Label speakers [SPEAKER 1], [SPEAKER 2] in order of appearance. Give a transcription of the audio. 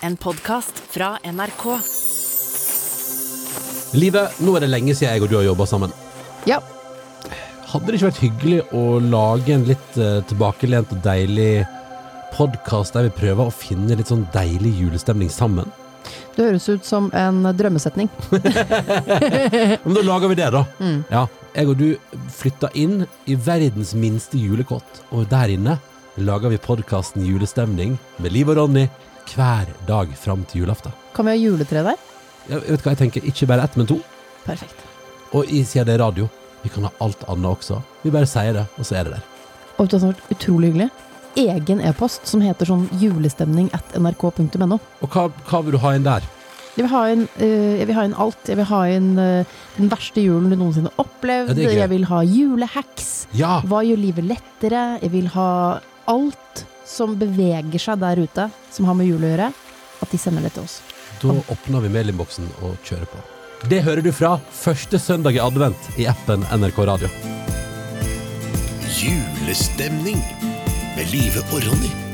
[SPEAKER 1] En podkast fra NRK.
[SPEAKER 2] Live, nå er det lenge siden jeg og du har jobba sammen.
[SPEAKER 3] Ja.
[SPEAKER 2] Hadde det ikke vært hyggelig å lage en litt eh, tilbakelent og deilig podkast der vi prøver å finne litt sånn deilig julestemning sammen?
[SPEAKER 3] Det høres ut som en drømmesetning.
[SPEAKER 2] Men da lager vi det, da. Ja, jeg og du flytta inn i verdens minste julekott, og der inne lager vi podkasten Julestemning med Liv og Ronny hver dag fram til julaften.
[SPEAKER 3] Kan vi ha juletre der?
[SPEAKER 2] Jeg vet hva jeg tenker, ikke bare ett, men to.
[SPEAKER 3] Perfekt.
[SPEAKER 2] Og i siden det er radio, vi kan ha alt annet også. Vi bare sier det, og så er det der.
[SPEAKER 3] Og vet du hva som har vært utrolig hyggelig? Egen e-post som heter sånn julestemning at nrk.no.
[SPEAKER 2] Og hva, hva vil du ha inn der?
[SPEAKER 3] Jeg vil ha inn, eh, jeg vil ha inn alt. Jeg vil ha inn eh, den verste julen du noensinne har
[SPEAKER 2] Ja,
[SPEAKER 3] opplevd.
[SPEAKER 2] det er gøy.
[SPEAKER 3] jeg vil ha julehacks.
[SPEAKER 2] Ja!
[SPEAKER 3] Hva gjør livet lettere? Jeg vil ha alt som beveger seg der ute, som har med jul å gjøre. At de sender det til oss.
[SPEAKER 2] Da åpner vi mailinnboksen og kjører på. Det hører du fra første søndag i advent i appen NRK Radio.
[SPEAKER 4] Julestemning med Live og Ronny.